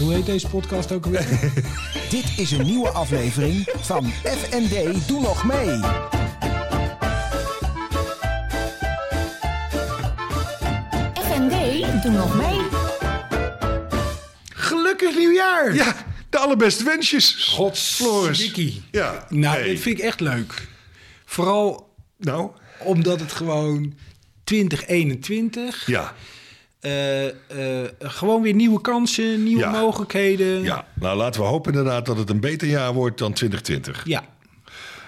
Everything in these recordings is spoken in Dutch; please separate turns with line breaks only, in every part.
Hoe heet deze podcast ook alweer?
Dit is een nieuwe aflevering van FND Doe Nog Mee.
FND, doe nog mee.
Gelukkig nieuwjaar!
Ja, de allerbeste wensjes.
Gods-
Floris.
Dikkie.
Ja.
nou,
hey.
dit vind ik echt leuk. Vooral
Nou,
omdat het gewoon 2021...
ja.
eh, eh, gewoon weer nieuwe kansen, nieuwe
Ja.
mogelijkheden.
ja. Nou, laten we hopen inderdaad dat het een beter jaar wordt dan 2020.
Ja.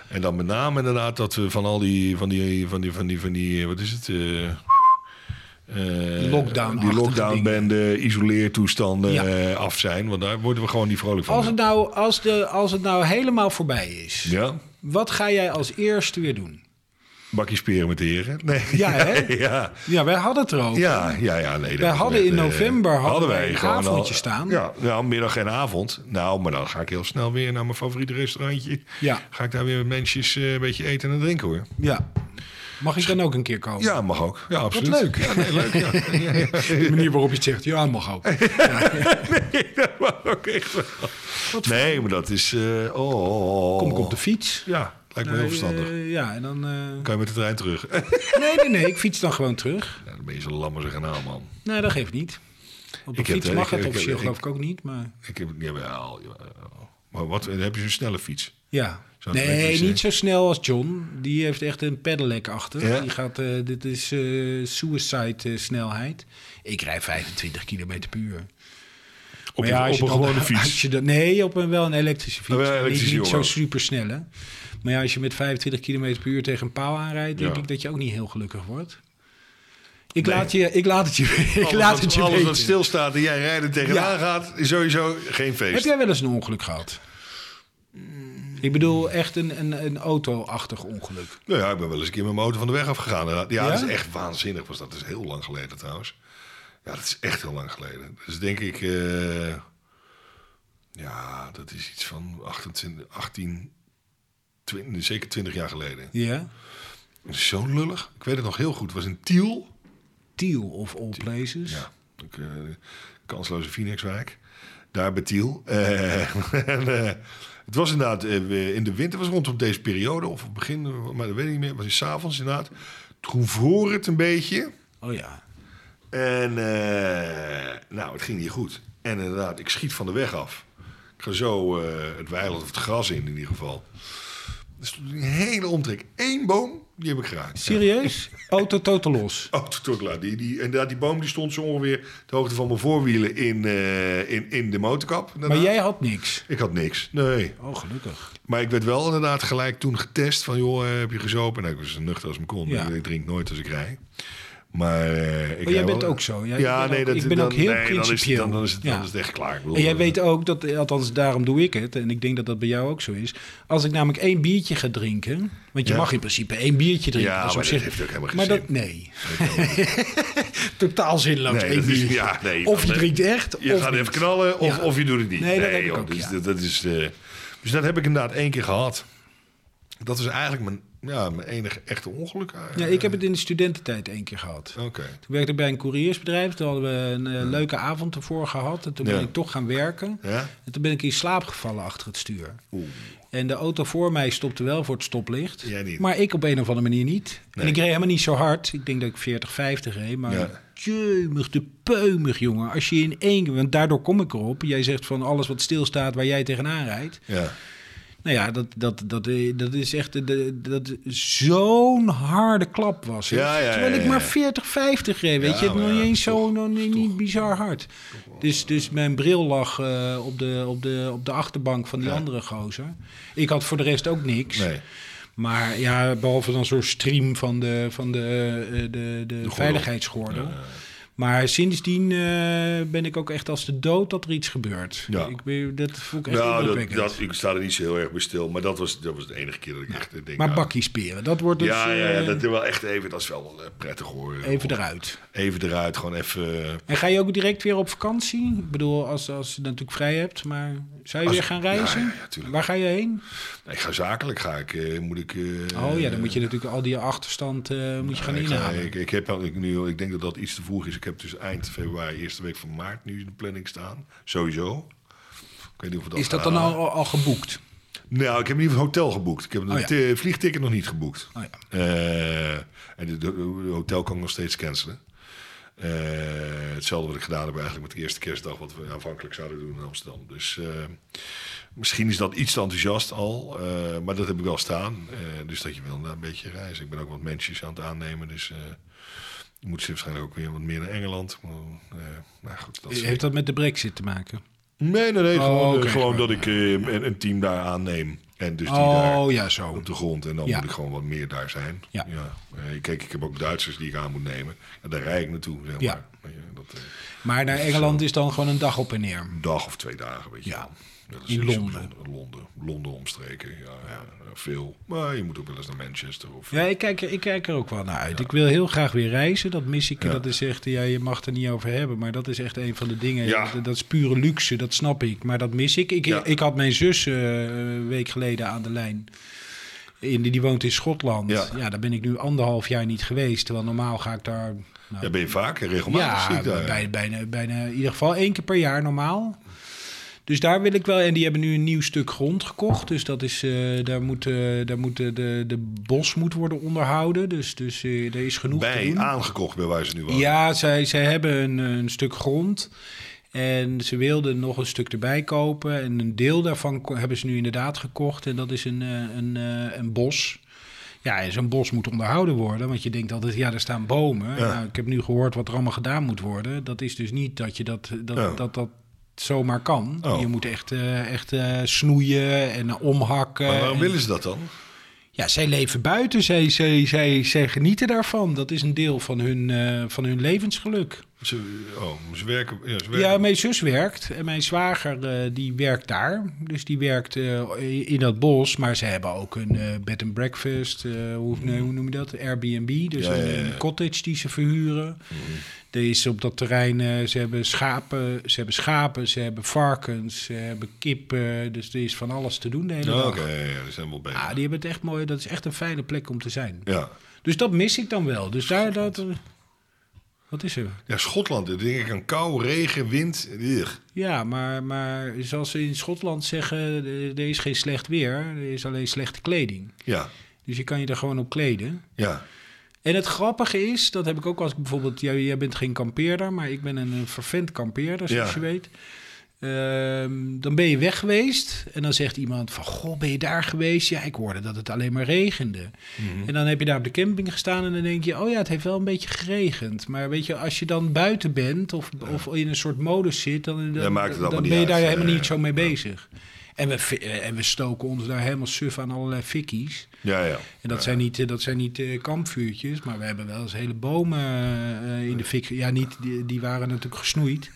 En dan met name inderdaad dat we van al die, van die, van die, van die, van die, eh, wat is het? eh, eh,
Lockdown-achtige
Die lockdownbende, isoleertoestanden
Ja.
eh, af zijn. Want daar worden we gewoon niet vrolijk van.
Als het nou, als de, als het nou helemaal voorbij is,
Ja,
wat ga jij als eerste weer doen?
bakje speren met de heren. Nee.
Ja, hè?
ja.
Ja, wij hadden het er ook.
Ja, ja, ja. Nee,
Wij
dat
hadden
is
in
net, eh,
november hadden wij een
gewoon al-
avondje staan.
Ja, nou, middag en avond. Nou, maar dan ga ik heel snel weer naar mijn favoriete restaurantje.
Ja.
Ga ik daar weer met mensen een beetje eten en drinken hoor.
Ja. Mag ik dan ook een keer komen?
Ja, mag ook. Ja, absoluut.
leuk.
Ja, nee, leuk. Ja, ja, ja.
De manier waarop je het zegt, ja, mag ook.
Dat mag ook echt wel. Nee, maar dat is... eh, oh, oh, oh.
Kom ik op de fiets?
Ja, lijkt me heel verstandig.
Eh, ja, en dan... eh,
Kan je met de trein terug?
Nee, nee, nee, ik fiets dan gewoon terug.
Ja, dan ben je zo lam als een kanaal, man.
Nee, dat geeft niet. Op de
Ik heb-
fiets mag
ik-
het
ik-
officieel
ik-
geloof ik ook niet, maar...
Ik heb... Jawel, jawel. oh. Maar wat, heb je zo'n snelle fiets?
Ja.
Zo'n
Nee,
elektrische-
niet zo snel als John. Die heeft echt een pedelec achter.
Ja?
Die gaat, eh, dit is eh, suicide eh, snelheid. Ik rijd 25 km per uur.
Op,
Maar ja,
een,
als
op een
je dan-
gewone
als
fiets?
je dan- nee, op een, wel een elektrische fiets.
Wel een elektrische,
niet niet zo
jongen.
supersnelle. Maar ja, als je met 25 km per uur tegen een paal aanrijdt... denk
Ja.
ik dat je ook niet heel gelukkig wordt. Ik, laat, je, ik laat het je, ik
Alles
laat
wat-
het je
Alles
weten.
wat stilstaat en jij rijden tegenaan gaat, is sowieso geen feest.
Heb jij wel eens een ongeluk gehad?
Mm.
Ik bedoel, echt een, een, een auto-achtig ongeluk.
Nou ja, ik ben wel eens een keer met mijn auto van de weg afgegaan. inderdaad. Ja,
Ja?
dat is echt waanzinnig. Was dat. dat is heel lang geleden trouwens. Ja, dat is echt heel lang geleden. Dus denk ik, eh, ja, dat is iets van 28, 18, 20, zeker 20 jaar geleden.
Ja?
Dat is zo lullig. Ik weet het nog heel goed. Het was in Tiel.
Tiel of all places.
Ja, ik, eh, kansloze Phoenixwijk. Daar bij Tiel. Eh, en, eh, het was inderdaad eh, we- in de winter, was rondom deze periode, of het begin, maar dat weet ik niet meer. Was het s'avonds inderdaad. Toen vroor het een beetje.
Oh ja.
En eh, nou, het ging niet goed. En inderdaad, ik schiet van de weg af. Ik ga zo eh, het weiland of het gras in, in ieder geval. Er stond een hele omtrek. Eén boom, die heb ik geraakt.
Serieus? Auto totaal los.
Auto tot laat. Die, die, inderdaad, die boom die stond zo ongeveer de hoogte van mijn voorwielen in, eh, in, in de motorkap.
Maar
inderdaad.
jij had niks.
Ik had niks. Nee.
Oh, gelukkig.
Maar ik werd wel inderdaad gelijk toen getest van, joh, eh, heb je gezopen? Nou, ik was zo nuchter als ik kon.
Ja.
Ik drink nooit als ik rij. Maar eh, ik
jij
rij
bent
wel-
ook zo. Ja,
Ja,
ik ben
nee,
ook-
dat,
ik ben
dan,
ook heel
nee, dan is, het-
principieel.
dan, dan is het,
Ja.
dan is het echt klaar. Ik bedoel,
En jij
eh,
weet ook dat, althans daarom doe ik het, en ik denk dat dat bij jou ook zo is. Als ik namelijk één biertje ga drinken, want je
Ja.
mag in principe één biertje drinken.
Ja,
dat is op
maar dat
zich-
heeft ook helemaal geen
Maar
zin.
dat, nee. Totaal zinloos,
Nee,
Nou, één
dat is-
biertje.
ja, nee,
of je
dan-
drinkt echt,
Je
of
gaat
niet.
even knallen of,
Ja.
of je doet het niet.
Nee, dat heb ik
joh,
ook,
dus,
ja.
dat, dat is, eh, dus dat heb ik inderdaad één keer gehad. Dat is eigenlijk mijn, ja, mijn enige echte ongeluk. eh.
Ja, ik heb het in de studententijd één keer gehad.
Oké.
Toen werkte ik bij een couriersbedrijf. Toen hadden we een eh, leuke avond ervoor gehad. En toen ben
Ja.
ik toch gaan werken.
Ja?
En toen ben ik in slaap gevallen achter het stuur. En de auto voor mij stopte wel voor het stoplicht.
Jij niet.
Maar ik op een of andere manier niet.
Nee.
En ik reed helemaal niet zo hard. Ik denk dat ik 40, 50 reed. Maar
Ja.
jeumig, de peumig, jongen. Als je in één keer... Want daardoor kom ik erop. Jij zegt van alles wat stilstaat waar jij tegenaan rijdt.
Ja.
Nou ja, dat, dat, dat, eh, dat is echt... eh, de- Dat zo'n harde klap was. het.
Ja, ja, ja,
Terwijl ik
ja,
maar
ja.
40, 50 reed. Weet
Ja,
je, het nog
maar
niet
ja,
eens zo nog niet, niet bizar hard. Dus, dus mijn bril lag eh, op, de, op, de, op de achterbank van die
Ja.
andere gozer. Ik had voor de rest ook niks.
Nee.
Maar ja, behalve dan zo'n stream van de, van de, eh, de, de, veiligheidsgordel. Maar sindsdien eh, ben ik ook echt als de dood dat er iets gebeurt.
Ja.
Ik ben, dat vond ik echt
Nou, dat,
indrukwekkend.
dat, ik sta er niet zo heel erg bij stil. Maar dat was, dat was de enige keer dat ik echt eh, denk...
Maar
nou,
bakkie speren, dat wordt dus
ja, ja, ja,
eh,
dat is wel echt even... Dat is wel eh, prettig hoor.
even eruit.
Even eruit, gewoon even... eh,
En ga je ook direct weer op vakantie? Ik bedoel, als, als je natuurlijk vrij hebt, maar zou je
Als-
weer gaan
ja,
reizen?
ja, ja, tuurlijk.
Waar ga je heen?
nee, ik ga zakelijk, ga ik... eh, moet ik... eh,
oh ja, dan moet je natuurlijk al die achterstand eh, moet je gaan
ik, ga-
inhalen.
ik, ik heb ik nu, ik denk dat dat iets te vroeg is. Ik ik heb dus eind februari, eerste week van maart nu in de planning staan. Sowieso. Ik weet niet of we dat eh,
Is dat
gaan
dan al,
halen.
al, al geboekt?
Nou, ik heb in ieder geval een hotel geboekt. Ik heb
Oh,
een
ja.
t- vliegticket nog niet geboekt.
Oh, ja.
Eh, en het hotel kan ik nog steeds cancelen. Eh, hetzelfde wat ik gedaan heb eigenlijk met de eerste kerstdag, wat we aanvankelijk zouden doen in Amsterdam. Dus eh, misschien is dat iets te enthousiast al, eh, maar dat heb ik wel staan. Eh, dus dat je wil een beetje reizen. Ik ben ook wat mensen aan het aannemen, dus eh ik moet ze waarschijnlijk ook weer wat meer naar Engeland. Maar, eh, nou goed, dat is-
Heeft dat met de brexit te maken?
Nee, nee, nee.
Oh,
gewoon eh,
oké,
gewoon
gewoon,
dat ik eh, een, een team daar aanneem. En dus die daar
oh ja, zo.
op de grond. En dan
Ja.
moet ik gewoon wat meer daar zijn.
Ja.
Eh, kijk, ik heb ook Duitsers die ik aan moet nemen. En daar rijd ik naartoe, zeg maar.
Ja.
Weet je, Dat, eh,
Maar naar Engeland is dan gewoon een dag op en neer.
een dag of twee dagen, weet je
Ja.
wel. Dat
In
niet zo
Londen.
bijzonder. Londen. Londen omstreken, ja, ja, Veel. Maar je moet ook wel eens naar Manchester. Of,
Ja, ik kijk, er- ik kijk er ook wel naar uit. Ik wil heel graag weer reizen. Dat mis ik.
Ja.
Dat is echt, ja, je mag er niet over hebben. Maar dat is echt een van de dingen.
Ja.
Dat, dat is pure luxe, dat snap ik. Maar dat mis ik. Ik,
Ja.
ik had mijn zus eh, een week geleden aan de lijn. In, die woont in Schotland.
Ja.
Ja. daar ben ik nu anderhalf jaar niet geweest. Terwijl normaal ga ik daar... nou,
Ja, ben je vaak en regelmatig zie
ja,
ik daar.
bij, bijna, bijna in ieder geval één keer per jaar normaal. Dus daar wil ik wel. En die hebben nu een nieuw stuk grond gekocht. Dus dat is, eh, daar moet, eh, daar moet de, de, de bos moet worden onderhouden. Dus, dus eh, er is genoeg te
bij
doen.
aangekocht, bij waar ze nu wonen.
Ja, zij, zij hebben een, een stuk grond. En ze wilden nog een stuk erbij kopen. En een deel daarvan ko- hebben ze nu inderdaad gekocht. En dat is een, eh, een, eh, een bos. Ja, en zo'n bos moet onderhouden worden. Want je denkt altijd, ja, er staan bomen.
Ja.
Nou, ik heb nu gehoord wat er allemaal gedaan moet worden. Dat is dus niet dat je dat, dat,
Ja.
dat, dat, zomaar kan.
Oh.
Je moet echt, eh, echt eh, snoeien en eh, omhakken.
Maar waarom
En-
willen ze dat dan?
ja, zij leven buiten, zij, zij, zij, zij genieten daarvan. Dat is een deel van hun, eh, van hun levensgeluk.
Ze, oh, ze werken... Ja, ze werken.
Ja, mijn zus werkt en mijn zwager eh, die werkt daar. Dus die werkt eh, in dat bos, maar ze hebben ook een eh, bed and breakfast, eh, hoe, nee, hoe noem je dat? Airbnb, dus
Ja,
een,
ja, ja. Mhm.
een cottage die ze verhuren. Er is op dat terrein, eh, ze hebben schapen, ze hebben schapen, ze hebben varkens, ze hebben kippen. Dus er is van alles te doen de hele
Oh,
dag.
Oké, ja, ja, ze zijn wel bezig.
Ah, die hebben het echt mooi, dat is echt een fijne plek om te zijn.
Ja.
Dus dat mis ik dan wel. Dus daar dat. eh, Wat is er?
ja, Schotland, dan denk ik aan kou, regen, wind. Ugh.
Ja, maar, maar zoals ze in Schotland zeggen, eh, er is geen slecht weer, er is alleen slechte kleding.
Ja,
Dus je kan je er gewoon op kleden.
ja.
En het grappige is, dat heb ik ook als ik bijvoorbeeld, jij, jij bent geen kampeerder, maar ik ben een, eh, vervent kampeerder, zoals
Ja.
je weet. Ehm, dan ben je weg geweest en dan zegt iemand van, goh, ben je daar geweest? Ja, ik hoorde dat het alleen maar regende.
Mhm.
En dan heb je daar op de camping gestaan en dan denk je, oh ja, het heeft wel een beetje geregend. Maar weet je, als je dan buiten bent of, of in een soort modus zit, dan, dan,
Dan maakt het
dan
allemaal
ben je
niet uit.
daar
Ja,
helemaal
ja,
niet zo mee
ja.
bezig. En we, fi- eh, en we stoken ons daar helemaal suf aan allerlei fikkies.
Ja, ja.
En dat zijn niet, eh, dat zijn niet eh, kampvuurtjes, maar we hebben wel eens hele bomen eh, in de fik. Ja, niet, die, die waren natuurlijk gesnoeid.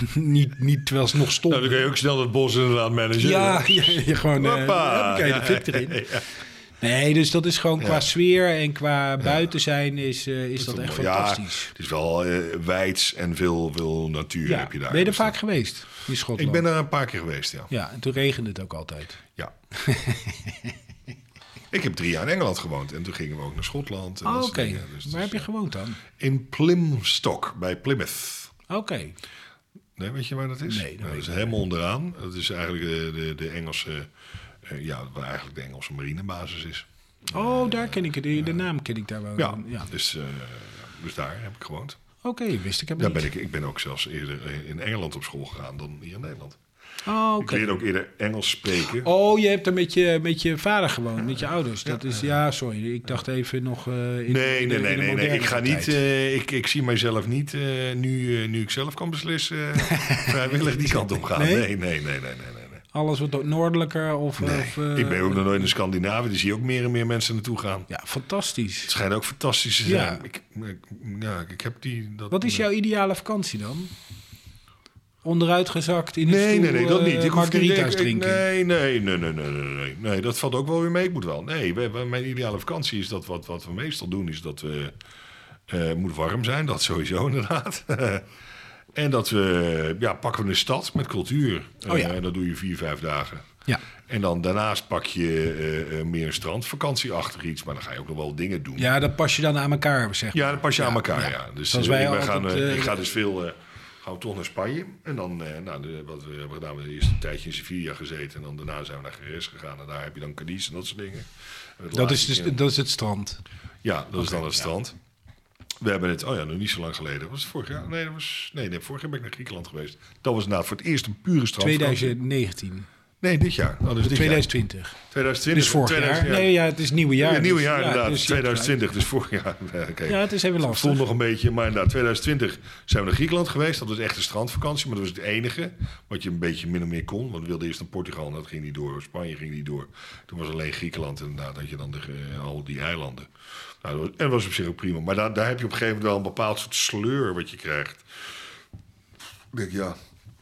niet, niet terwijl ze nog
Nou,
stonden.
dan kun je ook snel dat bos inderdaad managen.
ja, ja, ja, gewoon. eh
Hoppa.
hoppakee, de fik erin. Nee, dus dat is gewoon qua
Ja.
sfeer en qua buiten zijn is, eh, is dat, echt
wel-
fantastisch.
Ja, het is wel eh, wijds en veel, veel natuur
Ja.
heb je daar.
ben je er
Dus
vaak geweest in
dat-
Schotland?
Ik ben er een paar keer geweest, ja.
Ja, en toen regende het ook altijd.
ja. ik heb drie jaar in Engeland gewoond en toen gingen we ook naar Schotland. En
Oh,
dat
Oké,
soort dingen. Dus-
waar heb je
dus,
gewoond dan?
eh, In Plymstock, bij Plymouth.
Oké,
Nee, weet je waar dat is?
Nee, dat
Nou,
weet
dat is
ik
helemaal onderaan. Dat is eigenlijk de, de, de Engelse, eh, ja, waar eigenlijk de Engelse marinebasis is.
oh, daar ken ik het. De naam ken ik daar wel.
Ja,
Um, ja.
Dus, eh, dus daar heb ik gewoond.
Oké, wist ik helemaal
Daar
niet.
ben ik, ik ben ook zelfs eerder eh, in Engeland op school gegaan dan hier in Nederland.
Oh, oké.
Ik leerde ook eerder Engels spreken.
Oh, je hebt er met je, met je vader gewoond, met je ouders. Dat is, ja, sorry. Ik dacht even nog. eh, in,
nee,
in de-
nee,
in de
nee, nee, nee.
moderne
Ik ga
tijd.
niet. eh, ik, ik zie mijzelf niet eh, nu, eh, nu ik zelf kan beslissen. eh, vrijwillig die kant op gaan. Nee,
Nee?
nee, nee, nee, nee, nee. nee.
Alles wat noordelijker of. of, eh,
ik ben ook nog nooit in Scandinavië. Dus zie je ook meer en meer mensen naartoe gaan.
Ja,
Het
fantastisch.
schijnt ook fantastisch te
Ja.
zijn. Ik, ik, ja, ik heb die. Dat,
Wat is jouw ideale vakantie dan? Onderuitgezakt in de
Nee,
stoel,
nee, nee, dat niet. Ik
eh,
hoef niet-
margarita's
ik- ik-
drinken.
Nee, nee, nee, nee, nee, nee, nee. Nee, dat valt ook wel weer mee. Ik moet wel. Nee, we hebben- mijn ideale vakantie is dat wat, wat we meestal doen, is dat we. eh, het moet warm zijn, dat sowieso inderdaad. en dat we. Ja, pakken we een stad met cultuur.
Oh ja.
Eh, dat doe je vier, vijf dagen.
Ja.
En dan daarnaast pak je eh, eh, meer een strandvakantieachtig iets. Maar dan ga je ook nog wel dingen doen.
Ja, dat pas je dan aan elkaar, zeg maar.
Ja, dan pas je aan elkaar, ja. Dus
Zoals
eh,
wij
ik, ben
altijd,
gaan, eh,
eh,
ik ga dus veel... eh, gaan we toch naar Spanje. En dan, eh, nou, de- wat we hebben gedaan, we hebben eerst een tijdje in Sevilla gezeten. En dan daarna zijn we naar Geres gegaan. En daar heb je dan Cadiz en dat soort dingen. En het
Dat
laatste
is, dus,
keer-
dat is het strand.
ja, dat is dan het strand. We hebben het, oh ja, nog niet zo lang geleden. Was het vorig jaar? Nee, dat was, nee, nee, vorig jaar ben ik naar Griekenland geweest. Dat was inderdaad voor het eerst een pure strand.
2019.
Nee, dit jaar. Oh, dus dit jaar.
2020.
2020.
Dus vorig
2000,
jaar. Nee, ja, het is nieuwe jaar.
Ja, nieuwe
dus-
jaar
ja,
inderdaad,
dus-
2020, dus vorig jaar. eh, oké.
Ja, het is even
Het
lastig.
stond nog een beetje, maar inderdaad, 2020 zijn we naar Griekenland geweest. Dat was echt een strandvakantie, maar dat was het enige wat je een beetje min of meer kon. Want we wilden eerst naar Portugal en dat ging niet door. Spanje ging niet door. Toen was alleen Griekenland inderdaad, dat je dan de, eh, al die eilanden. Nou, dat was, en dat was op zich ook prima. Maar daar, daar heb je op een gegeven moment wel een bepaald soort sleur wat je krijgt. Ik denk, ja,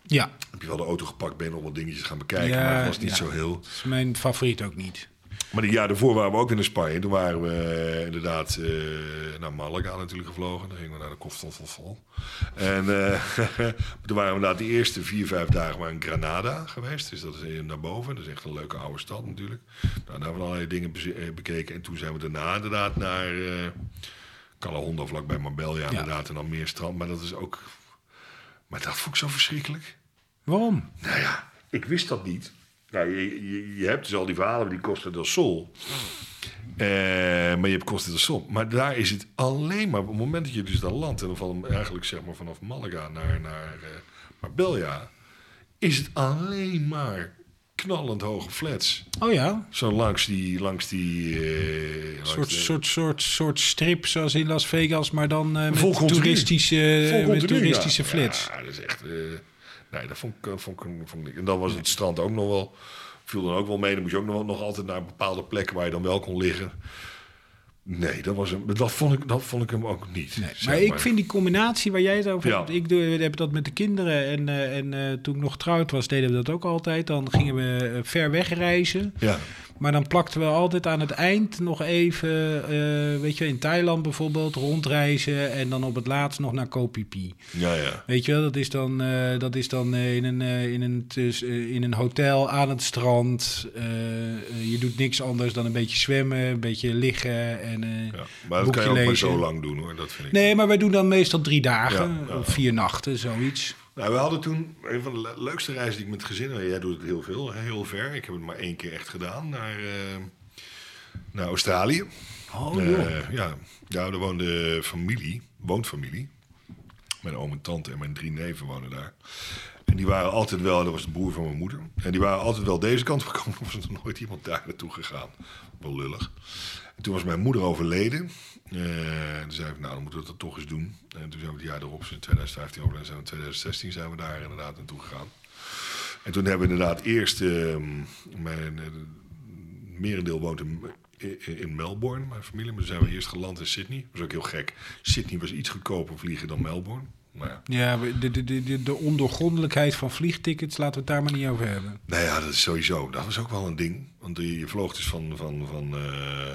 Ja,
heb je wel de auto gepakt, ben je nog wat dingetjes gaan bekijken.
Ja,
maar het was niet
ja.
zo heel.
dat is mijn favoriet ook niet.
Maar het jaar daarvoor waren we ook weer naar Spanje. Toen waren we eh, inderdaad eh, naar Malaga natuurlijk gevlogen. Dan gingen we naar de Koftalfonfol. En eh, toen waren we inderdaad de eerste vier, vijf dagen maar in Granada geweest. Dus dat is eh, naar boven. Dat is echt een leuke oude stad natuurlijk. Nou, daar hebben we allerlei dingen beze- eh, bekeken. En toen zijn we daarna inderdaad naar eh Calahonda, vlakbij Marbella inderdaad. En dan meer strand. Maar dat is ook... Maar dat vond ik zo verschrikkelijk.
Waarom?
Nou ja, ik wist dat niet. Nou, je, je, je hebt dus al die verhalen die Costa del Sol. Eh, maar je hebt Costa del Sol. Maar daar is het alleen maar... Op het moment dat je dus dan landt... en dan van, eigenlijk zeg maar vanaf Malaga naar, naar eh, Marbella... is het alleen maar knallend hoge flats.
Oh ja,
Zo langs die... Langs die eh,
een
langs
soort,
de-
soort, soort, soort strip zoals in Las Vegas, maar dan eh,
Vol
met,
continu.
toeristische,
Vol
eh, met
continu, ja.
toeristische flits.
Ja, dat is echt... eh, nee, dat vond ik, eh, vond, ik, vond ik niet. En dan was het strand ook nog wel... Viel dan ook wel mee. Dan moest je ook nog, wel- nog altijd naar bepaalde plekken waar je dan wel kon liggen. Nee, dat, was hem, dat, vond, ik, dat vond ik hem ook niet.
Nee,
zeg
maar ik vind die combinatie waar jij het over
Ja.
hebt. Ik doe, heb dat met de kinderen. En, eh, en eh, toen ik nog getrouwd was, deden we dat ook altijd. Dan gingen we eh, ver weg reizen.
Ja,
Maar dan plakten we altijd aan het eind nog even, eh, weet je, wel, in Thailand bijvoorbeeld, rondreizen. En dan op het laatst nog naar Koh Phi Phi.
ja, ja.
Weet je wel, dat is dan, eh, dat is dan eh, in, een, eh, in, een, dus, eh, in een hotel aan het strand. Eh, eh, je doet niks anders dan een beetje zwemmen, een beetje liggen. En, eh,
ja. Maar dat
boekje
kan je ook maar
lezen.
zo lang doen hoor. Dat vind ik.
Nee, maar wij doen dan meestal drie dagen,
Ja, ja.
of vier nachten, zoiets.
Nou, we hadden toen een van de le- leukste reizen die ik met gezinnen. Jij doet het heel veel, hè, heel ver. Ik heb het maar één keer echt gedaan naar, eh, naar Australië.
Oh,
Eh, ja. ja, daar woonde familie, woonfamilie. Mijn oom en tante en mijn drie neven wonen daar. En die waren altijd wel, dat was de broer van mijn moeder. En die waren altijd wel deze kant op gekomen. Er was nog nooit iemand daar naartoe gegaan. Wel lullig. En toen was mijn moeder overleden. Eh, en toen zei ik, nou dan moeten we dat toch eens doen. En toen zijn we het jaar erop, dus in 2015 overleden. zijn we in 2016 zijn we daar inderdaad naartoe gegaan. En toen hebben we inderdaad eerst... eh, mijn, eh, merendeel woont in, in Melbourne, mijn familie. Maar toen zijn we eerst geland in Sydney. Dat was ook heel gek. Sydney was iets goedkoper vliegen dan Melbourne. Maar ja.
Ja, we- de, de, de, de- de ondoorgrondelijkheid van vliegtickets, laten we het daar maar niet over hebben.
Nou ja, dat is sowieso. Dat was ook wel een ding. Want je, je vloog dus van, van, van eh,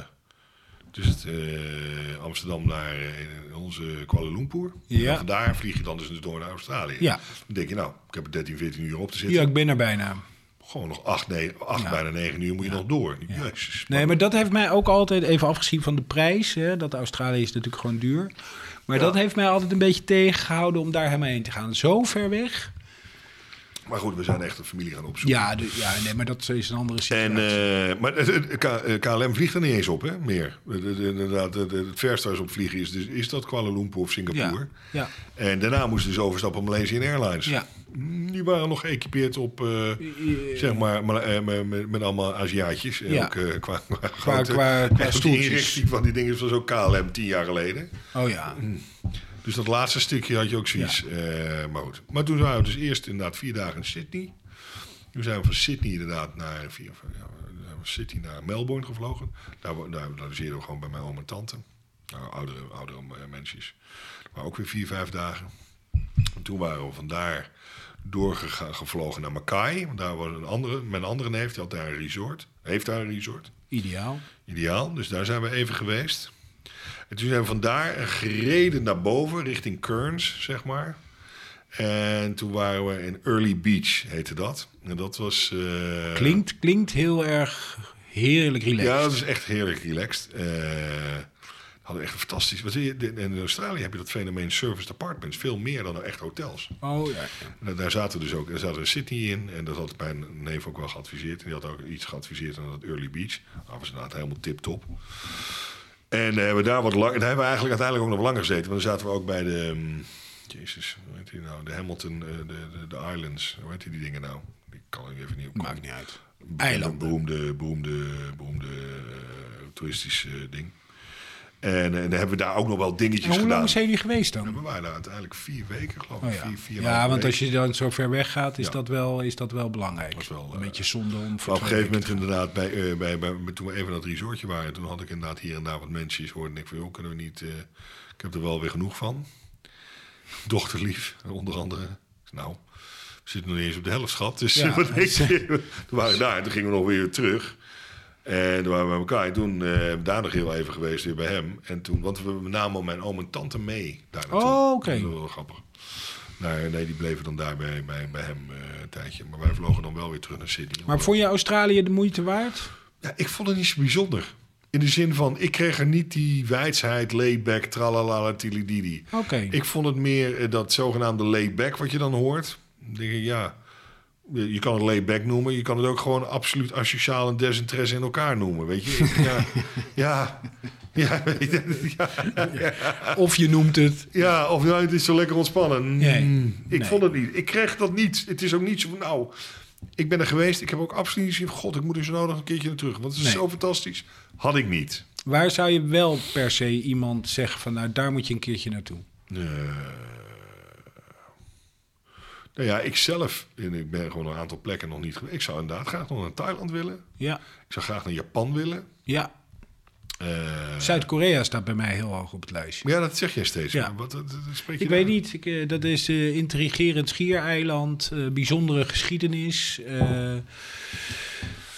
dus het, eh, Amsterdam naar eh, onze Kuala Lumpur.
Ja.
En van daar vlieg je dan dus door naar Australië.
Ja.
Dan denk je, nou, ik heb er 13, 14 uur op te zitten.
Ja, ik ben er bijna.
Gewoon nog 8, nee, acht
Ja.
bijna 9 uur moet je nog door. Jezus.
Nee, maar dat heeft mij ook altijd, even afgezien van de prijs, hè, dat Australië is natuurlijk gewoon duur. Maar dat heeft mij altijd een beetje tegengehouden om daar helemaal heen te gaan. Zo ver weg.
Maar goed, we zijn echt een familie gaan opzoeken.
Ja, dus- de- ja nee, maar dat is een andere
En,
situatie.
eh, maar het- het- K- eh, KLM vliegt er niet eens op, hè? Meer. Het- het- Inderdaad, het, het verste waar ze op vliegen is, dus, is dat Kuala Lumpur of Singapore.
ja, ja,
En daarna moesten ze dus overstappen op Malaysian Airlines.
ja.
Die waren nog geëquipeerd op, eh, zeg maar, maar, eh, met, met, met allemaal Aziatjes. En
Ja.
Ook, eh, qua, qua,
Qua,
grote-
qua, qua
echt die
stoeltjes.
inrichting van die dingen was ook KLM tien jaar geleden.
Oh ja.
Dus dat laatste stukje had je ook zoiets. eh, maar, goed. maar toen waren we dus eerst inderdaad vier dagen in Sydney. Toen zijn we van Sydney inderdaad naar, vier, ja, we zijn van Sydney naar Melbourne gevlogen. Daar, wo- daar logeerden we gewoon bij mijn oom en tante. Nou, oudere, oudere eh, mensjes. Maar ook weer vier, vijf dagen. En toen waren we vandaar doorgegaan, gevlogen naar Mackay. Want daar was een andere, mijn andere neef, die had daar een resort. Heeft daar een resort
Ideaal.
ideaal. Dus daar zijn we even geweest. En toen zijn we vandaar gereden naar boven, richting Kearns, zeg maar. En toen waren we in Early Beach, heette dat. En dat was... eh,
Klinkt, klinkt heel erg heerlijk relaxed.
Ja, dat is echt heerlijk relaxed. Eh, hadden we echt een fantastisch... Wat zie je, in- in Australië heb je dat fenomeen serviced apartments. Veel meer dan echt hotels.
Oh ja.
Nou, daar zaten we dus ook. Daar zaten we Sydney in. En dat had mijn neef ook wel geadviseerd. En die had ook iets geadviseerd aan dat Early Beach. Dat was inderdaad helemaal tip-top. En eh, hebben we daar wat lang. Daar hebben we eigenlijk uiteindelijk ook nog langer gezeten. Want dan zaten we ook bij de. mm, Jezus, hoe heet die nou? De Hamilton, eh, de, de, de Islands. Hoe heet die, die dingen nou? Ik kan er nu even niet op komen.
Maakt niet uit.
Een
Eilanden.
beroemde, beroemde, beroemde eh, toeristische ding. En, eh, dan hebben we daar ook nog wel dingetjes
En hoe
gedaan.
lang zijn jullie geweest dan?
We waren daar uiteindelijk vier weken, geloof ik.
Oh, ja,
Vier, vier en een
ja
halve
want
week.
als je dan zo ver weg gaat, is,
Ja.
dat, wel, is dat wel belangrijk.
Was wel,
een
eh,
beetje zonde om voor
Maar op een
twee
gegeven
weken
moment inderdaad, bij, eh, bij, bij, toen we even naar het resortje waren, toen had ik inderdaad hier en daar wat mensen die hoorden. En ik van, joh, kunnen we niet, eh, ik heb er wel weer genoeg van. Dochterlief, onder andere. Ik zei, Nou, we zitten nog niet eens op de helft, schat. Dus
Ja,
wat denk je? Toen waren we daar en toen gingen we nog weer terug. En toen waren we bij elkaar. En toen eh daar nog heel even geweest, weer bij hem. En toen, want we namen al mijn oom en tante mee daar naartoe.
Oh, oké.
Dat was wel grappig. Nou, nee, die bleven dan daar bij, bij, bij hem eh, een tijdje. Maar wij vlogen dan wel weer terug naar Sydney.
Maar vond je Australië de moeite waard?
Ja, ik vond het niet zo bijzonder. In de zin van, ik kreeg er niet die wijsheid, layback, tralala, tilididi.
Oké.
Ik vond het meer eh, dat zogenaamde layback wat je dan hoort. Dan denk ik, ja, je je kan het layback noemen. Je kan het ook gewoon absoluut asociaal en desinteresse in elkaar noemen, weet je. Ik- ja, ja, ja, weet je, ja,
Of je noemt het.
ja, of nou, het is zo lekker ontspannen. Mm,
Nee,
Ik
nee.
vond het niet. Ik kreeg dat niet. Het is ook niet zo van, nou, ik ben er geweest. Ik heb ook absoluut niet gezien, god, ik moet er zo nodig een keertje naar terug. Want het is
Nee.
zo fantastisch. Had ik niet.
Waar zou je wel per se iemand zeggen van nou daar moet je een keertje naartoe?
Eh, nou ja, ik zelf, en ik ben gewoon een aantal plekken nog niet geweest. Ik zou inderdaad graag nog naar Thailand willen.
Ja,
Ik zou graag naar Japan willen.
ja.
Eh,
Zuid-Korea staat bij mij heel hoog op het lijstje.
ja, dat zeg jij steeds.
Ja.
Maar Wat, wat- wat spreek je
Ik
daar?
weet niet, ik, eh, dat is eh, intrigerend schiereiland, eh, bijzondere geschiedenis. eh,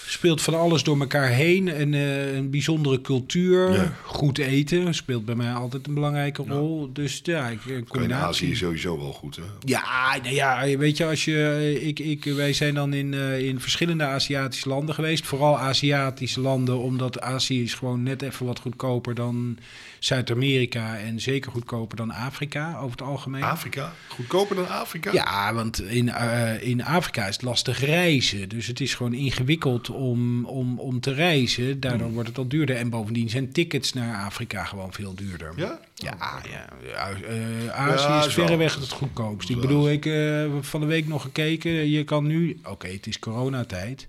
speelt van alles door elkaar heen. En, eh, een bijzondere cultuur.
Ja.
Goed eten speelt bij mij altijd een belangrijke rol. Dus ja, ik, een
In Azië
combinatie.
is sowieso wel goed, hè?
Ja, nou ja, weet je, als je, ik, ik, wij zijn dan in, eh, in verschillende Aziatische landen geweest. Vooral Aziatische landen, omdat Azië is gewoon net even wat goedkoper dan Zuid-Amerika. En zeker goedkoper dan Afrika over het algemeen.
Afrika? Goedkoper dan Afrika?
Ja, want in, eh, in Afrika is het lastig reizen. Dus het is gewoon ingewikkeld om, om, om te reizen. Daardoor
Hmm.
wordt het al duurder. En bovendien zijn tickets naar Afrika gewoon veel duurder.
Ja?
Ja, ja. Eh, Azië
Ja,
Oh, is
is wel-
verreweg het goedkoopst. Ik
wel-
bedoel, ik eh, van de week nog gekeken. Je kan nu, oké, het is coronatijd.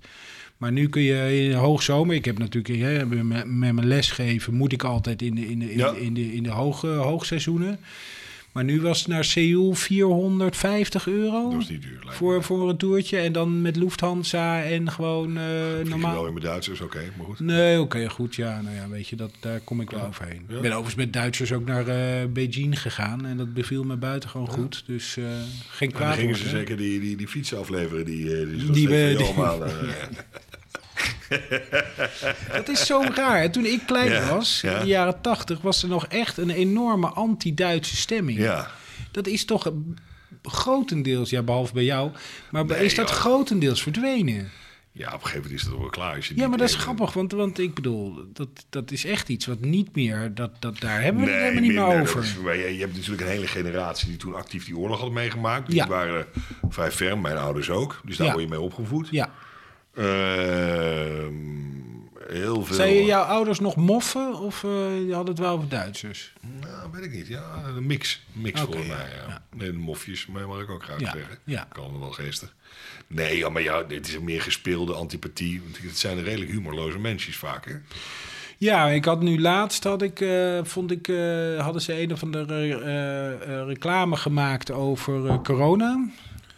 Maar nu kun je in de hoogzomer, ik heb natuurlijk hè, met, met mijn lesgeven, moet ik altijd in de, in de, in
Ja.
de, in de, in de hoge, hoogseizoenen. Maar nu was het naar Seoul 450 euro
Dat is niet duur, lijkt me.
voor, voor een toertje. En dan met Lufthansa en gewoon eh,
Vlieg je
normaal.
wel in mijn Duits, is oké, maar goed.
Nee, oké, goed. Ja, nou ja, weet je, dat, daar kom ik wel overheen. Ik ben overigens met Duitsers ook naar eh, Beijing gegaan. En dat beviel me buitengewoon goed. Dus eh, geen
En dan
kwaad
Nou, gingen
woord,
ze
hè?
zeker die, die, die fietsen afleveren, die, eh, die, ze nog
Die
steeds
we-
van
die-
allemaal... eh,
Dat is zo raar. hè. Toen ik klein
Ja,
was,
ja.
in de jaren tachtig... was er nog echt een enorme anti-Duitse stemming.
ja.
Dat is toch eh, grotendeels, ja, behalve bij jou... maar
Nee,
is dat
joh.
grotendeels verdwenen?
ja, op een gegeven moment is dat ook wel klaar. Als je
Ja,
die eh,
maar dat is
ene-
grappig, want, want ik bedoel, dat, dat is echt iets wat niet meer, dat, dat, daar hebben we
Nee,
het helemaal niet meer
minder.
over.
Dat is- maar je, je hebt natuurlijk een hele generatie die toen actief die oorlog had meegemaakt. Dus
Ja.
Die waren eh, vrij ferm, mijn ouders ook. Dus daar
Ja.
word je mee opgevoed.
Ja.
Ehm, heel veel...
Zijn jouw ouders nog moffen of eh je had het wel over Duitsers?
Nou, weet ik niet. Ja, een mix. Mix
Oké,
volgens
ja,
mij. Ja. Nee, de mofjes, maar mag ik ook graag
Ja,
zeggen.
ja.
Kan er wel geestig. Nee, ja, maar ja, dit is een meer gespeelde antipathie. Want het zijn redelijk humorloze mensen vaak. Hè?
Ja, ik had nu laatst, had ik, eh, vond ik, eh, hadden ze een of andere eh, eh, reclame gemaakt over eh, corona.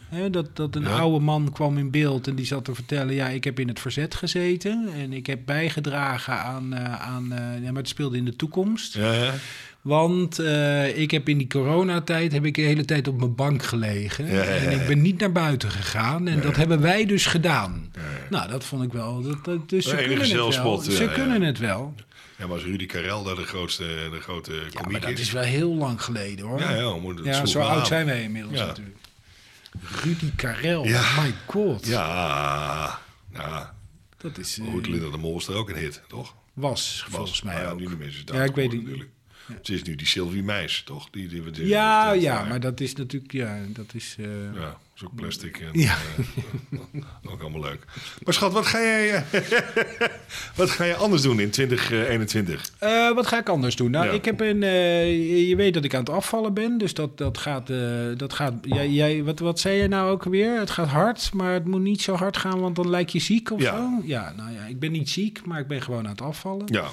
Hè, dat, dat een
Ja.
oude man kwam in beeld en die zat te vertellen... ja, ik heb in het verzet gezeten en ik heb bijgedragen aan... eh, aan eh, ja, maar het speelde in de toekomst.
Ja, ja.
Want eh, ik heb in die coronatijd heb ik de hele tijd op mijn bank gelegen.
Ja, ja, ja, ja.
En ik ben niet naar buiten gegaan. En dat hebben wij dus gedaan. Nou, dat vond ik wel. Dat, dat, dus ze
Enige
kunnen het wel.
zelfspot, ja,
ze
ja.
kunnen het wel.
ja, maar als Rudy Karel daar de grootste, de grote
Ja,
komiek
maar dat
is.
is wel heel lang geleden hoor.
Ja, ja, maar dat
Ja,
sloeg
zo
wel
oud
aan.
zijn wij inmiddels
Ja.
natuurlijk. Rudy Karel.
Ja.
Oh my god.
Ja, ja.
Dat is, eh,
Goed, Linda de Mol is er ook een hit, toch?
was
Was.
volgens mij
Nou ja,
ook.
nu de mensen
Ja, ik weet het niet.
natuurlijk. Ze is nu die Sylvie Meis, toch? Die, die, die-
Ja,
die-
ja, maar dat is natuurlijk... Ja, dat is... eh,
eh, nou Ja, is ook plastic en
Ja.
eh, ook allemaal leuk. Maar schat, wat ga jij, eh, wat ga jij anders doen in 2021?
Eh, wat ga ik anders doen? Nou,
Ja.
ik heb een. eh, je- je weet dat ik aan het afvallen ben, dus dat, dat gaat. eh, dat gaat jij, jij, wat, wat zei jij nou ook weer? Het gaat hard, maar het moet niet zo hard gaan, want dan lijk je ziek of
Ja.
zo. Ja, nou ja, ik ben niet ziek, maar ik ben gewoon aan het afvallen.
Ja,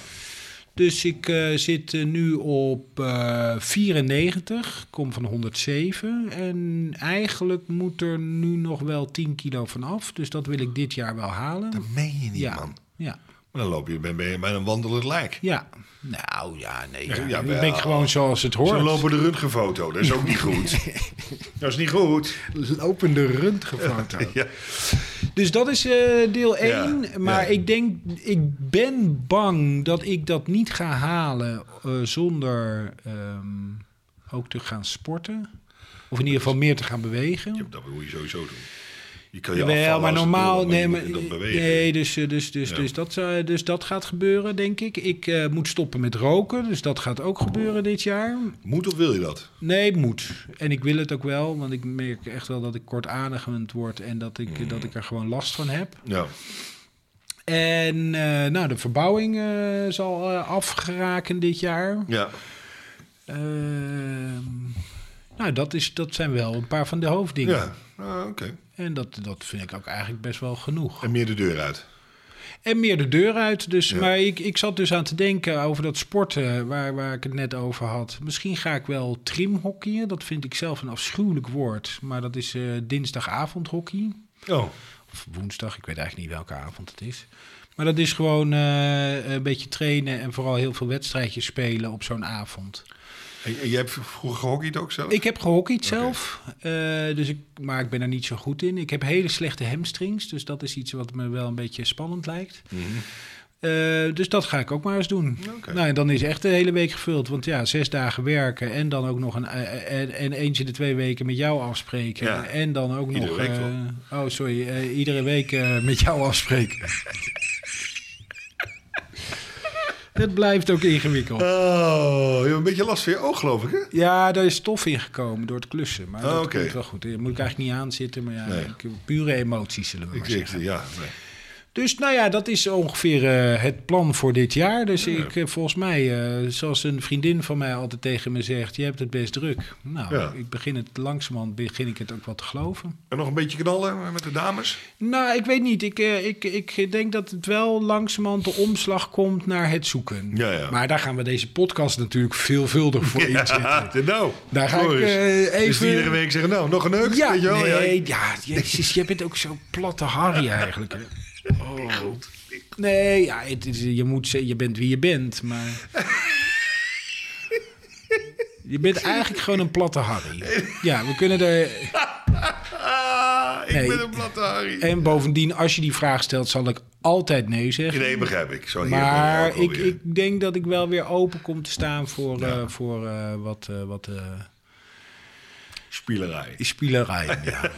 Dus ik eh, zit eh, nu op eh 94, kom van 107. En eigenlijk moet er nu nog wel 10 kilo vanaf, dus dat wil ik dit jaar wel halen.
dat meen je niet,
ja,
man.
ja.
Maar dan loop je, ben ben je bij een wandelend lijk.
Ja. Nou ja, nee. Ja,
ja,
dan
wel.
ben ik gewoon zoals het hoort.
Zo'n lopende röntgenfoto, dat is ook niet goed. dat is niet goed.
lopende röntgenfoto.
Ja.
Dus dat is eh, deel 1.
Ja,
maar
ja.
ik denk, ik ben bang dat ik dat niet ga halen eh, zonder ehm, ook te gaan sporten. Of in ieder geval meer te gaan bewegen.
Ja, dat moet je sowieso doen. Je kan je
Wel,
afvallen
maar
als het
normaal
wil, maar je
nemen.
moet dat bewegen.
Nee, dus, eh, dus, dus,
Ja.
dus, dat, zou- dus dat gaat gebeuren, denk ik. Ik eh, moet stoppen met roken, dus dat gaat ook gebeuren dit jaar.
Moet of wil je dat?
Nee, het moet. En ik wil het ook wel, want ik merk echt wel dat ik kortademend word en dat ik, dat ik er gewoon last van heb.
Ja.
En eh, nou, de verbouwing eh, zal eh, afgeraken dit jaar.
ja.
Ehm, nou, dat, is, dat zijn wel een paar van de hoofddingen.
ja. Ah, Oké.
En dat, dat vind ik ook eigenlijk best wel genoeg.
En meer de deur uit.
En meer de deur uit. Dus,
Ja.
Maar ik, ik zat dus aan te denken over dat sporten waar, waar ik het net over had. Misschien ga ik wel trimhockeyen. Dat vind ik zelf een afschuwelijk woord. Maar dat is eh dinsdagavondhockey.
Oh.
Of woensdag, ik weet eigenlijk niet welke avond het is. Maar dat is gewoon eh, een beetje trainen en vooral heel veel wedstrijdjes spelen op zo'n avond.
En, en jij hebt vroeger gehockeyd ook zelf?
Ik heb gehockeyd zelf, eh, dus ik, maar ik ben er niet zo goed in. Ik heb hele slechte hamstrings, dus dat is iets wat me wel een beetje spannend lijkt.
Mhm.
Eh, dus dat ga ik ook maar eens doen.
Oké.
Nou, en dan is echt de hele week gevuld. Want ja, zes dagen werken en dan ook nog een... eh, en, en eens in de twee weken met jou afspreken.
Ja.
En dan ook
Iedere
nog...
week
eh,
toch?
oh, sorry. eh, iedere week eh, met jou afspreken. Het blijft ook ingewikkeld.
Oh, je hebt een beetje last van je oog, geloof ik, hè?
Ja, daar is stof in gekomen door het klussen. Maar
Ah,
dat
oké.
komt wel goed. Daar moet ik eigenlijk niet aan zitten. Maar ja,
Nee.
ik- pure emoties zullen we
Ik
maar
denk,
zeggen.
ja. nee.
Dus nou ja, dat is ongeveer eh, het plan voor dit jaar. Dus ik, eh, volgens mij, eh, zoals een vriendin van mij altijd tegen me zegt, je hebt het best druk. Nou,
Ja.
ik begin het langzamerhand begin ik het ook wel te geloven.
En nog een beetje knallen met de dames?
Nou, ik weet niet. Ik, eh, ik, ik denk dat het wel langzamerhand de omslag komt naar het zoeken.
Ja, ja.
Maar daar gaan we deze podcast natuurlijk veelvuldig voor inzetten.
nou,
Daar ga ik,
Floris.
eh,
Dus die
even-
iedere week zeggen, nou, nog een neuk?
Ja,
weet je wel?
nee,
Ja,
ja, jezus, jij bent ook zo'n platte Harry eigenlijk. Hè. Oh. Nee, ja, het is, je, moet, ze- je bent wie je bent, maar... Je bent eigenlijk gewoon een platte Harry. Ja, we kunnen er...
Ah, ik
Nee.
ben een platte Harry.
En bovendien, als je die vraag stelt, zal ik altijd nee zeggen.
Nee, begrijp ik. Zo hier ben je ook
Maar
wel
ik,
weer.
ik denk dat ik wel weer open kom te staan voor,
Ja.
eh, voor eh, wat, eh wat eh,
Spielerij.
Spielerij, ja.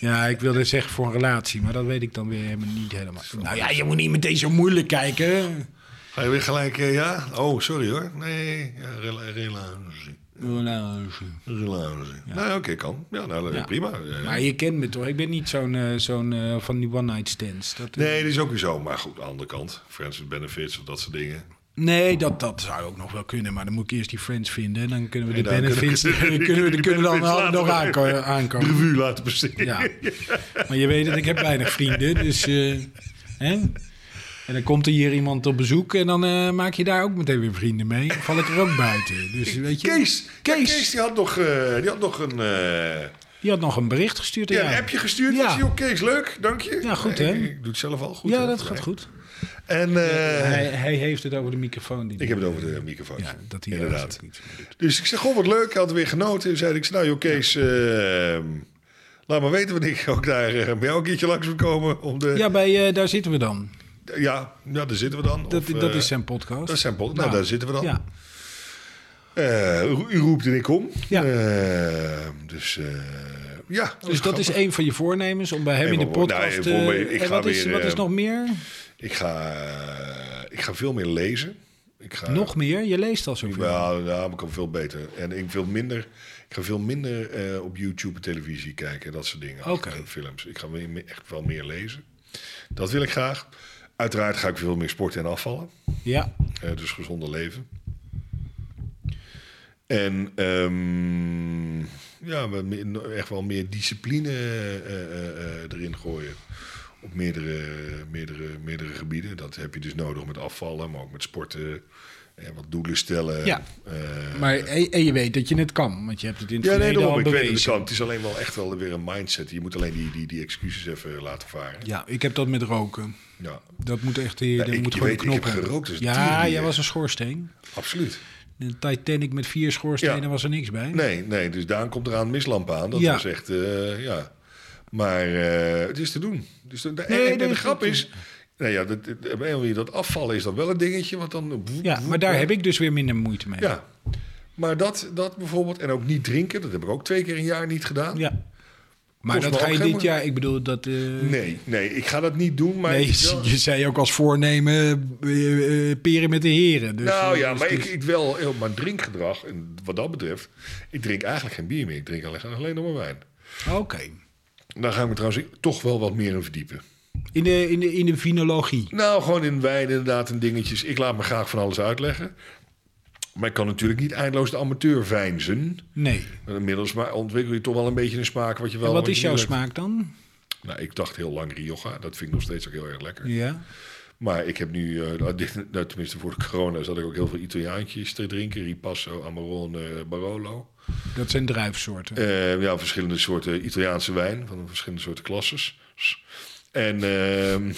Ja, ik wilde zeggen voor een relatie, maar dat weet ik dan weer helemaal niet helemaal. Nou ja, je moet niet meteen zo moeilijk kijken.
Ga je weer gelijk, eh, ja? Oh, sorry hoor. Nee, ja, rela- relatie.
Relatie.
Relatie. Nou, oké, kan. Ja, nou,
Ja.
prima. Ja, ja.
Maar je kent me toch? Ik ben niet zo'n eh, zo'n eh, van die one-night stands. Dat, eh,
Nee, dat is ook weer zo. Maar goed, aan de andere kant. Friends with benefits of dat soort dingen.
nee dat, dat zou ook nog wel kunnen, maar dan moet ik eerst die friends vinden. En dan kunnen we
En
de
dan
benefits
kunnen we-
kunnen, kunnen we,
die
kunnen we dan
benefits
wel nog
later
aanko-
De
aankomen.
revue laten besteden.
Ja. Maar je weet het, ik heb weinig vrienden, dus... eh, hè? En dan komt er hier iemand op bezoek en dan eh, maak je daar ook meteen weer vrienden mee. Dan val ik er ook buiten. Dus, weet je,
Kees, Kees.
Kees.
Kees die had nog, eh, die had nog een, eh,
Die had nog een bericht gestuurd.
ja,
aan
een
jou.
appje gestuurd.
Ja.
Ik zie, joh, Kees, leuk, dank je.
Ja, goed,
Nee,
hè?
Ik, ik doe het zelf al goed.
ja,
hè,
dat
volgens
gaat
mij.
goed.
En eh,
hij, hij heeft het over de microfoon. Die
ik heb het over de microfoon.
Ja, dat hij ergens
Inderdaad.
ook iets mee doet.
Dus ik zeg, goh, wat leuk. Ik had weer genoten. Toen zei ik, nou joh, Kees, eh, laat maar weten wanneer ik ook daar eh, bij jou een keertje langs moet komen. Om de, ja.
Ja, bij, eh, daar zitten we dan.
Ja, daar zitten we dan.
Dat,
Of,
dat
eh,
is zijn podcast.
Dat is zijn podcast. Nou,
Nou,
daar zitten we dan.
Ja.
Eh, u- u roept en ik kom.
Ja.
Eh, dus eh, ja.
Dus dat is
grappig.
een van je voornemens om bij hem
Eén
in de
van mijn- nou,
podcast...
één
eh,
van mijn- ik
en
ga
wat is,
weer,
wat is
eh,
nog meer?
Ik ga, eh, ik ga veel meer lezen. Ik ga,
nog meer? Je leest al zoveel.
Nou, ja, maar ik kan veel beter. En ik, veel minder, ik ga veel minder eh, op YouTube en televisie kijken. Dat soort dingen.
Oké.
En Films. Ik ga weer, me- echt wel meer lezen. Dat wil ik graag. Uiteraard ga ik veel meer sporten en afvallen.
Ja,
Eh, dus gezonder leven. En ehm, ja, we me- echt wel meer discipline eh, eh, eh, erin gooien. Op meerdere, meerdere, meerdere gebieden. Dat heb je dus nodig met afvallen, maar ook met sporten. En wat doelen stellen.
Ja.
Eh,
maar en, en je weet dat je het kan, want je hebt het in het
ja, nee,
verleden
daarom,
al
ik weet het
bewezen.
kan. Het is alleen wel echt wel weer een mindset. Je moet alleen die, die, die excuses even laten varen.
Ja, ik heb dat met roken.
Ja,
Dat moet echt... die- daar
ik-
moet
je
gewoon
weet,
een
ik
knop
heb dus
in.
gerookt als een
Ja,
tierenlier.
jij was een schoorsteen.
absoluut.
De Titanic met vier schoorstenen
Ja.
was er niks bij.
Nee, nee, dus Daan komt eraan mislamp aan. Dat
Ja.
was echt, eh, ja. Maar eh, het is te doen. Dus de, de-
Nee,
en de
nee,
grap
dat-
is... Nou ja, dat, dat, op een of andere manier, dat afvallen is dan wel een dingetje, want dan... eh,
Ja, maar daar heb ik dus weer minder moeite mee.
Ja, maar dat, dat bijvoorbeeld, en ook niet drinken, dat heb ik ook twee keer een jaar niet gedaan.
Ja. Maar
Kost
dat
me ook
ga je
geen
dit
moeite.
jaar, ik bedoel dat... eh,
Nee, nee, ik ga dat niet doen, maar...
nee,
ik wel-
je zei ook als voornemen eh, eh, peren met de heren. Dus,
nou
eh,
ja,
dus
maar
het
ik,
is-
ik wel, eh, mijn drinkgedrag, en wat dat betreft, ik drink eigenlijk geen bier meer. Ik drink alleen, alleen nog maar wijn.
Oké.
Daar ga ik me trouwens toch wel wat meer in verdiepen.
In, de, in, de, in de vinologie.
Nou, gewoon in wijn inderdaad en dingetjes. Ik laat me graag van alles uitleggen. Maar ik kan natuurlijk niet eindeloos de amateur veinzen.
Nee.
Inmiddels maar ontwikkel je toch wel een beetje een smaak wat je wel...
en wat
je
is jouw
niet leuk-
smaak dan?
Nou, ik dacht heel lang Rioja. Dat vind ik nog steeds ook heel erg lekker.
Ja.
Maar ik heb nu, eh, nou, dit- nou, tenminste voor de corona, zat ik ook heel veel Italiaantjes te drinken. Ripasso, Amarone, Barolo.
Dat zijn druifsoorten.
Eh, ja, verschillende soorten Italiaanse wijn van verschillende soorten klasses. En ehm,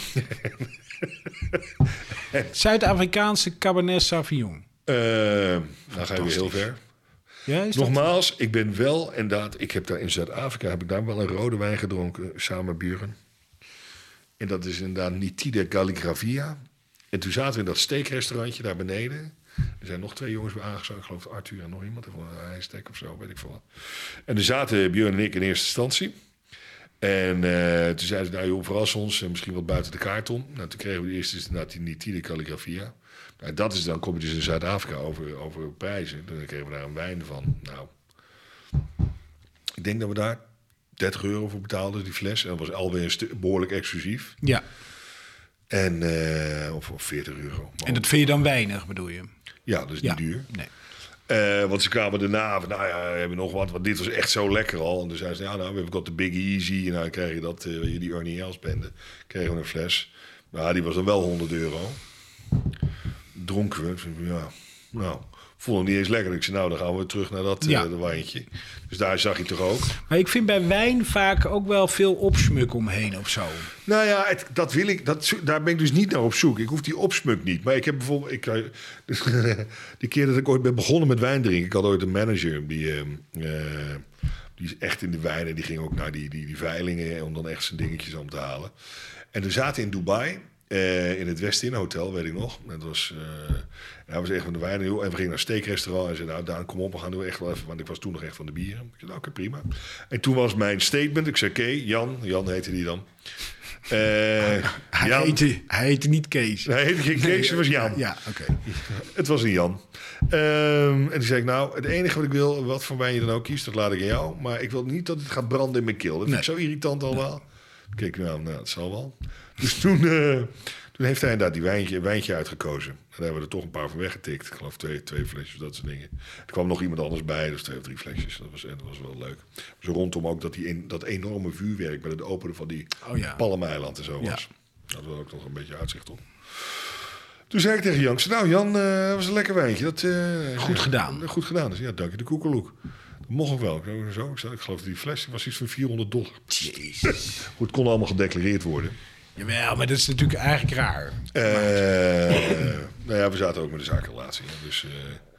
Zuid-Afrikaanse Cabernet Sauvignon.
eh, nou ga je weer heel ver.
Ja, is dat?
Nogmaals, ik ben wel inderdaad, ik heb daar in Zuid-Afrika heb ik daar wel een rode wijn gedronken samen met buren. En dat is inderdaad Nitide Calligrafia. En toen zaten we in dat steekrestaurantje daar beneden. Er zijn nog twee jongens bij aangesloten, ik geloof Arthur en nog iemand van een ijstek of zo, weet ik veel wat. En er zaten Björn en ik in eerste instantie. En eh, toen zeiden ze, nou joh, verras ons, eh, misschien wat buiten de kaart om. Nou, toen kregen we eerst dus inderdaad die Nitide Calligrafia. Nou, dat is dan, kom je dus in Zuid-Afrika over, over prijzen. Dan kregen we daar een wijn van. Nou, ik denk dat we daar 30 euro voor betaalden, die fles. En dat was alweer een stu- behoorlijk exclusief.
Ja.
Oh. En, eh, of, of 40 euro. Maar
En dat vind je dan weinig, bedoel je?
Ja, dat is
Ja.
niet duur.
Nee.
Eh, want ze kwamen daarna van, nou ja, hebben we nog wat? Want dit was echt zo lekker al. En toen zeiden ze, ja, nou, we hebben got de Big Easy. En dan krijg je dat, eh, weet je, die Ernie Els bende. Kregen we een fles. Nou, die was dan wel 100 euro. Dronken we. Ik zei, Ja, nou, voelde hem niet eens lekker. Ik zei, nou, dan gaan we terug naar dat eh,
Ja.
dat wijntje. Dus daar zag je toch ook.
Maar ik vind bij wijn vaak ook wel veel opsmuk omheen of zo.
Nou ja, het- dat wil ik, dat, zo- daar ben ik dus niet naar op zoek. Ik hoef die opsmuk niet. Maar ik heb bijvoorbeeld... Ik, eh, die keer dat ik ooit ben begonnen met wijn drinken... Ik had ooit een manager die... ehm, eh, die is echt in de wijn en die ging ook naar die, die, die veilingen... om dan echt zijn dingetjes om te halen. En we zaten in Dubai... eh, in het Westin Hotel, weet ik nog. En Dat was, eh, en hij was echt van de wijn. joh. En we gingen naar een steakrestaurant. En zei, nou Daan, kom op, we gaan nu echt wel even. Want ik was toen nog echt van de bieren. Ik zei, nou, oké, prima. En toen was mijn statement. Ik zei, oké, Jan. Jan heette die dan. Eh
Hij,
Jan.
heette, hij heette niet Kees. Eh,
Nee, heette geen Kees, het was Jan.
Ja, oké.
Het was een Jan. Ehm, en toen zei ik, nou, het enige wat ik wil, wat voor wijn je dan ook kiest, dat laat ik aan jou. Maar ik wil niet dat het gaat branden in mijn keel. Dat vind ik zo
Nee.
irritant allemaal. Kijk, nou, nou, dat zal wel. Dus toen, eh, toen heeft hij inderdaad die wijntje, wijntje uitgekozen. En daar hebben we er toch een paar van weggetikt. Ik geloof twee, twee flesjes, dat soort dingen. Er kwam nog iemand anders bij, dus twee of drie flesjes. Dat was, en dat was wel leuk. Zo rondom ook dat, die in, dat enorme vuurwerk bij het openen van die
Oh ja.
Palmeiland en zo
Ja.
was. Dat was ook nog een beetje uitzicht op. Toen zei ik tegen Jan, ik zei, nou Jan, eh was een lekker wijntje. Dat, eh,
Goed
ja,
gedaan.
Goed gedaan. Dus, ja, dank je de koekeloek. Dat mocht ook wel. Ik, zei, zo, ik, zei, ik geloof dat die fles die was iets van 400 dollar.
Jezus.
Goed, het kon allemaal gedeclareerd worden.
Jawel, maar dat is natuurlijk eigenlijk raar.
Eh, nou ja, we zaten ook met de zakenrelatie. hè, Dus eh,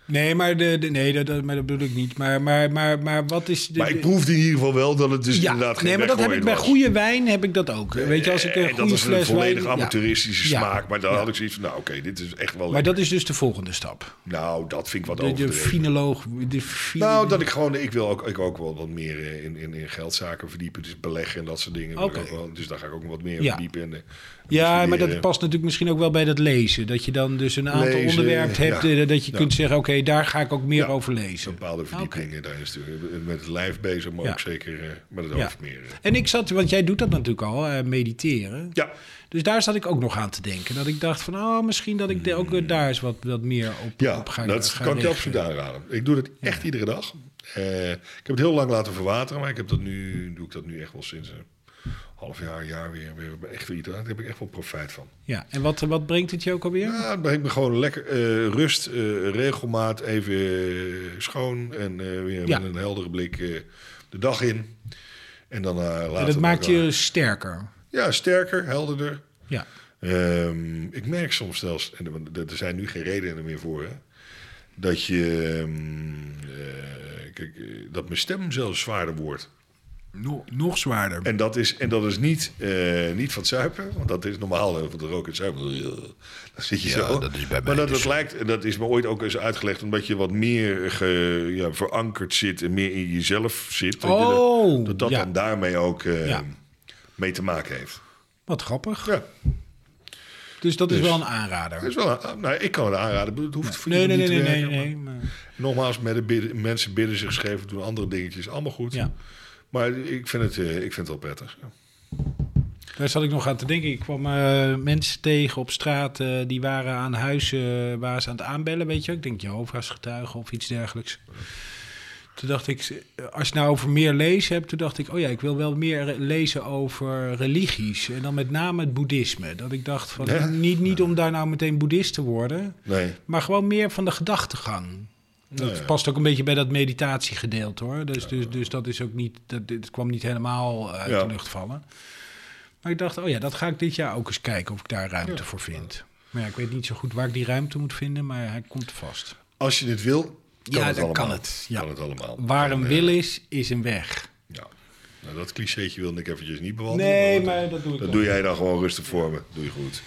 Nee, maar, de, de- nee dat, dat- maar dat bedoel ik niet. Maar, maar, maar, maar wat is... De,
Maar ik proefde in ieder geval wel dat het dus
ja,
inderdaad geen
nee, maar dat heb ik
weggooien
bij
was.
goede wijn heb ik dat ook. Weet je, als ik een
En dat
goede
was een
fles
volledig
wijn... ja.
amateuristische
Ja.
smaak. Maar daar
Ja.
had ik zoiets van, nou oké, dit is echt wel...
Maar dat is dus de volgende stap.
nou, dat vind ik wat
De, de
overdreven.
finoloog... De fi-
Nou, dat ik gewoon, ik wil ook, ik ook wel wat meer eh, in, in, in geldzaken verdiepen. Dus beleggen en dat soort dingen. wil ik
Oké.
ook wel. dus daar ga ik ook wat meer in
Ja.
verdiepen. En, eh,
Ja, maar dat
bestuderen.
past natuurlijk misschien ook wel bij dat lezen. Dat je dan dus een aantal
eh, Lezen,
onderwerpen hebt...
ja.
eh, dat je
Ja.
kunt zeggen, oké, daar ga ik ook meer
Ja.
over lezen.
Bepaalde verdiepingen daarin sturen. Met het lijf bezig, maar
Ja.
ook zeker eh, met het
Ja.
hoofd meer. eh.
En ik zat, want jij doet dat natuurlijk al, eh, mediteren.
Ja,
Dus daar zat ik ook nog aan te denken. Dat ik dacht van, oh, misschien dat ik de- ook eh, daar eens wat, wat meer op,
Hmm. ja
op ga
dat
ga
kan ik je
richten.
absoluut aanraden. Ik doe dat echt iedere dag. Eh, ik heb het heel lang laten verwateren, maar ik heb dat nu, doe ik dat nu echt wel sinds een half jaar, jaar weer. weer echt weer, daar heb ik echt wel profijt van.
Ja, en wat, wat brengt het je ook alweer?
Ja, het brengt me gewoon lekker eh, rust, eh, regelmaat, even eh, schoon en eh, weer
Ja.
met een heldere blik eh, de dag in. En dan eh later
en dat maakt
ook, eh,
je sterker.
Ja, sterker, helderder.
Ja.
Ehm, ik merk soms zelfs, en want er er zijn nu geen redenen meer voor, hè, dat je. ehm, eh, kijk, eh, dat mijn stem zelfs zwaarder wordt.
Nog, nog zwaarder.
En dat is, en dat is niet, eh, niet van het zuipen, want dat is normaal. hè, Van de rook en het zuipen. Dan zit je
Ja,
zo.
dat is bij mij
maar dat
dus.
het lijkt, en dat is me ooit ook eens uitgelegd, omdat je wat meer ge- ja, verankerd zit en meer in jezelf zit. dat je dat-
Oh,
dat dat
ja.
dan daarmee ook eh,
Ja.
mee te maken heeft.
Wat grappig.
Ja,
Dus dat is
Dus-
wel een
dat
aanrader.
is wel een- nou, ik kan het aanraden. Ik bedoel, Het hoeft voor
Nee, nee,
iemand
nee,
niet
nee,
te
nee.
werken, maar-
nee, maar-
Nogmaals, met de bidden- mensen bidden zich scheef, doen andere dingetjes, allemaal goed.
Ja.
Maar ik vind, het, eh, ik vind het wel prettig. Ja.
Daar zat ik nog aan te denken. Ik kwam eh, mensen tegen op straat, eh, die waren aan huizen, eh, waren ze aan het aanbellen, weet je wel. Ik denk Jehovah's getuigen of iets dergelijks. Toen dacht ik, eh, als je nou over meer lezen hebt, toen dacht ik, oh ja, ik wil wel meer re- lezen over religies. En dan met name het boeddhisme. Dat ik dacht van,
Ja.
niet, niet om daar nou meteen boeddhist te worden,
Nee.
maar gewoon meer van de gedachtegang. Dat
Nee.
past ook een beetje bij dat meditatiegedeelte hoor. Dus, dus, dus dat is ook niet. Dat, dit kwam niet helemaal eh, uit
Ja.
de lucht vallen. Maar ik dacht, oh ja, dat ga ik dit jaar ook eens kijken of ik daar ruimte voor vind. Maar ja, ik weet niet zo goed waar ik die ruimte moet vinden, maar hij komt vast.
Als je dit wil, kan
ja,
het
dan
allemaal.
kan het. Ja.
Kan het allemaal.
Waar
En,
een
eh,
wil is, is een weg.
Ja. Nou, dat clichétje wilde ik eventjes niet bewandelen.
Nee,
dat-
maar dat doe ik
Dat
ook.
doe jij dan gewoon rustig voor me. Doe je goed.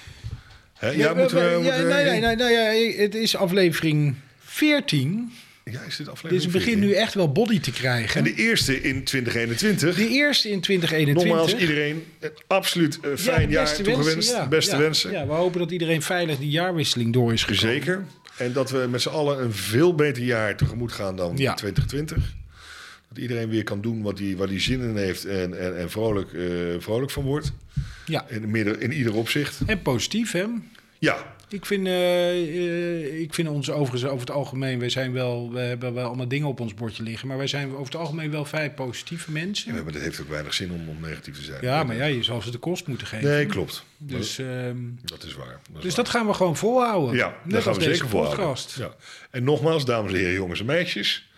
Hè? ja, moeten we...
ja,
moeten we-
nee, nee, nee, nee, ja, het is aflevering 14.
Ja, is dit aflevering
Dus ik begin
14?
nu echt wel body te
En
krijgen.
de eerste in 2021.
De eerste in 2021.
Nogmaals, iedereen een absoluut eh,
Ja,
fijn
de
jaar
beste
toegewenst.
wensen, ja.
Beste
Ja,
wensen.
Ja, we hopen dat iedereen veilig die jaarwisseling door is gekomen.
Zeker. En dat we met z'n allen een veel beter jaar tegemoet gaan dan
Ja.
2020. Dat iedereen weer kan doen wat hij waar die zin in heeft en, en, en vrolijk, eh, vrolijk van wordt.
Ja.
In, meerder- in ieder opzicht.
En positief, hè?
Ja,
Ik vind, eh, eh, ik vind ons overigens over het algemeen... We, zijn wel, we hebben wel allemaal dingen op ons bordje liggen... maar wij zijn over het algemeen wel vrij positieve
ja,
mensen.
maar dat heeft ook weinig zin om, om negatief te zijn.
Ja, maar ja, je zal ze de kost moeten geven.
Nee, klopt.
Dus, ehm,
Dat is waar. is
dus
waar.
dat gaan we gewoon volhouden.
ja,
Net
daar
als
gaan we
deze
zeker voor houden.
podcast.
Ja. En nogmaals, dames en heren, jongens en meisjes.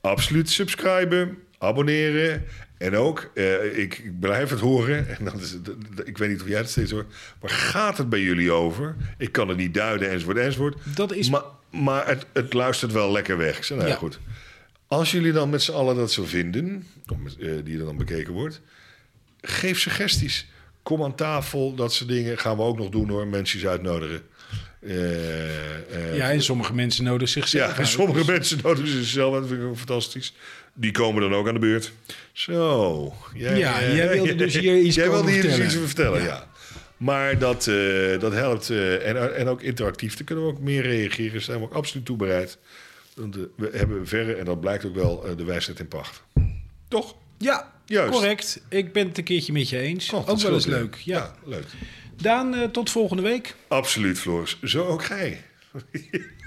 Absoluut subscriben, abonneren. En ook, eh, ik, ik blijf het horen. En dat is, het- dat- ik weet niet of jij het steeds hoort. Maar gaat het bij jullie over? Ik kan het niet duiden, enzovoort, enzovoort.
Dat is...
Maar, maar het, het luistert wel lekker weg. Ik zei, nou ja,
Ja.
goed. Als jullie dan met z'n allen dat zo vinden, of met, eh, die er dan bekeken wordt, geef suggesties. Kom aan tafel, dat soort dingen gaan we ook nog doen hoor. Mensen uitnodigen. Eh, eh,
ja, en sommige mensen nodigen zichzelf
ja, en
uit.
sommige mensen nodigen zichzelf, uit. dat vind ik ook fantastisch. Die komen dan ook aan de beurt. Zo. eh,
Ja, jij wilde dus hier iets
Jij wilde
komen
hier dus
vertellen.
iets over vertellen, ja. Maar dat, eh, dat helpt. eh, en, en ook interactief. Daar kunnen we ook meer reageren. Daar zijn we ook absoluut toe bereid. Want eh, we hebben verre, en dat blijkt ook wel, eh, de wijsheid in pacht. Toch?
Ja,
Juist.
correct. Ik ben het een keertje met je eens.
Oh, dat
ook wel eens
scheelt weer.
leuk. Ja.
leuk.
Daan, eh, tot volgende week.
Absoluut, Floris. Zo ook gij.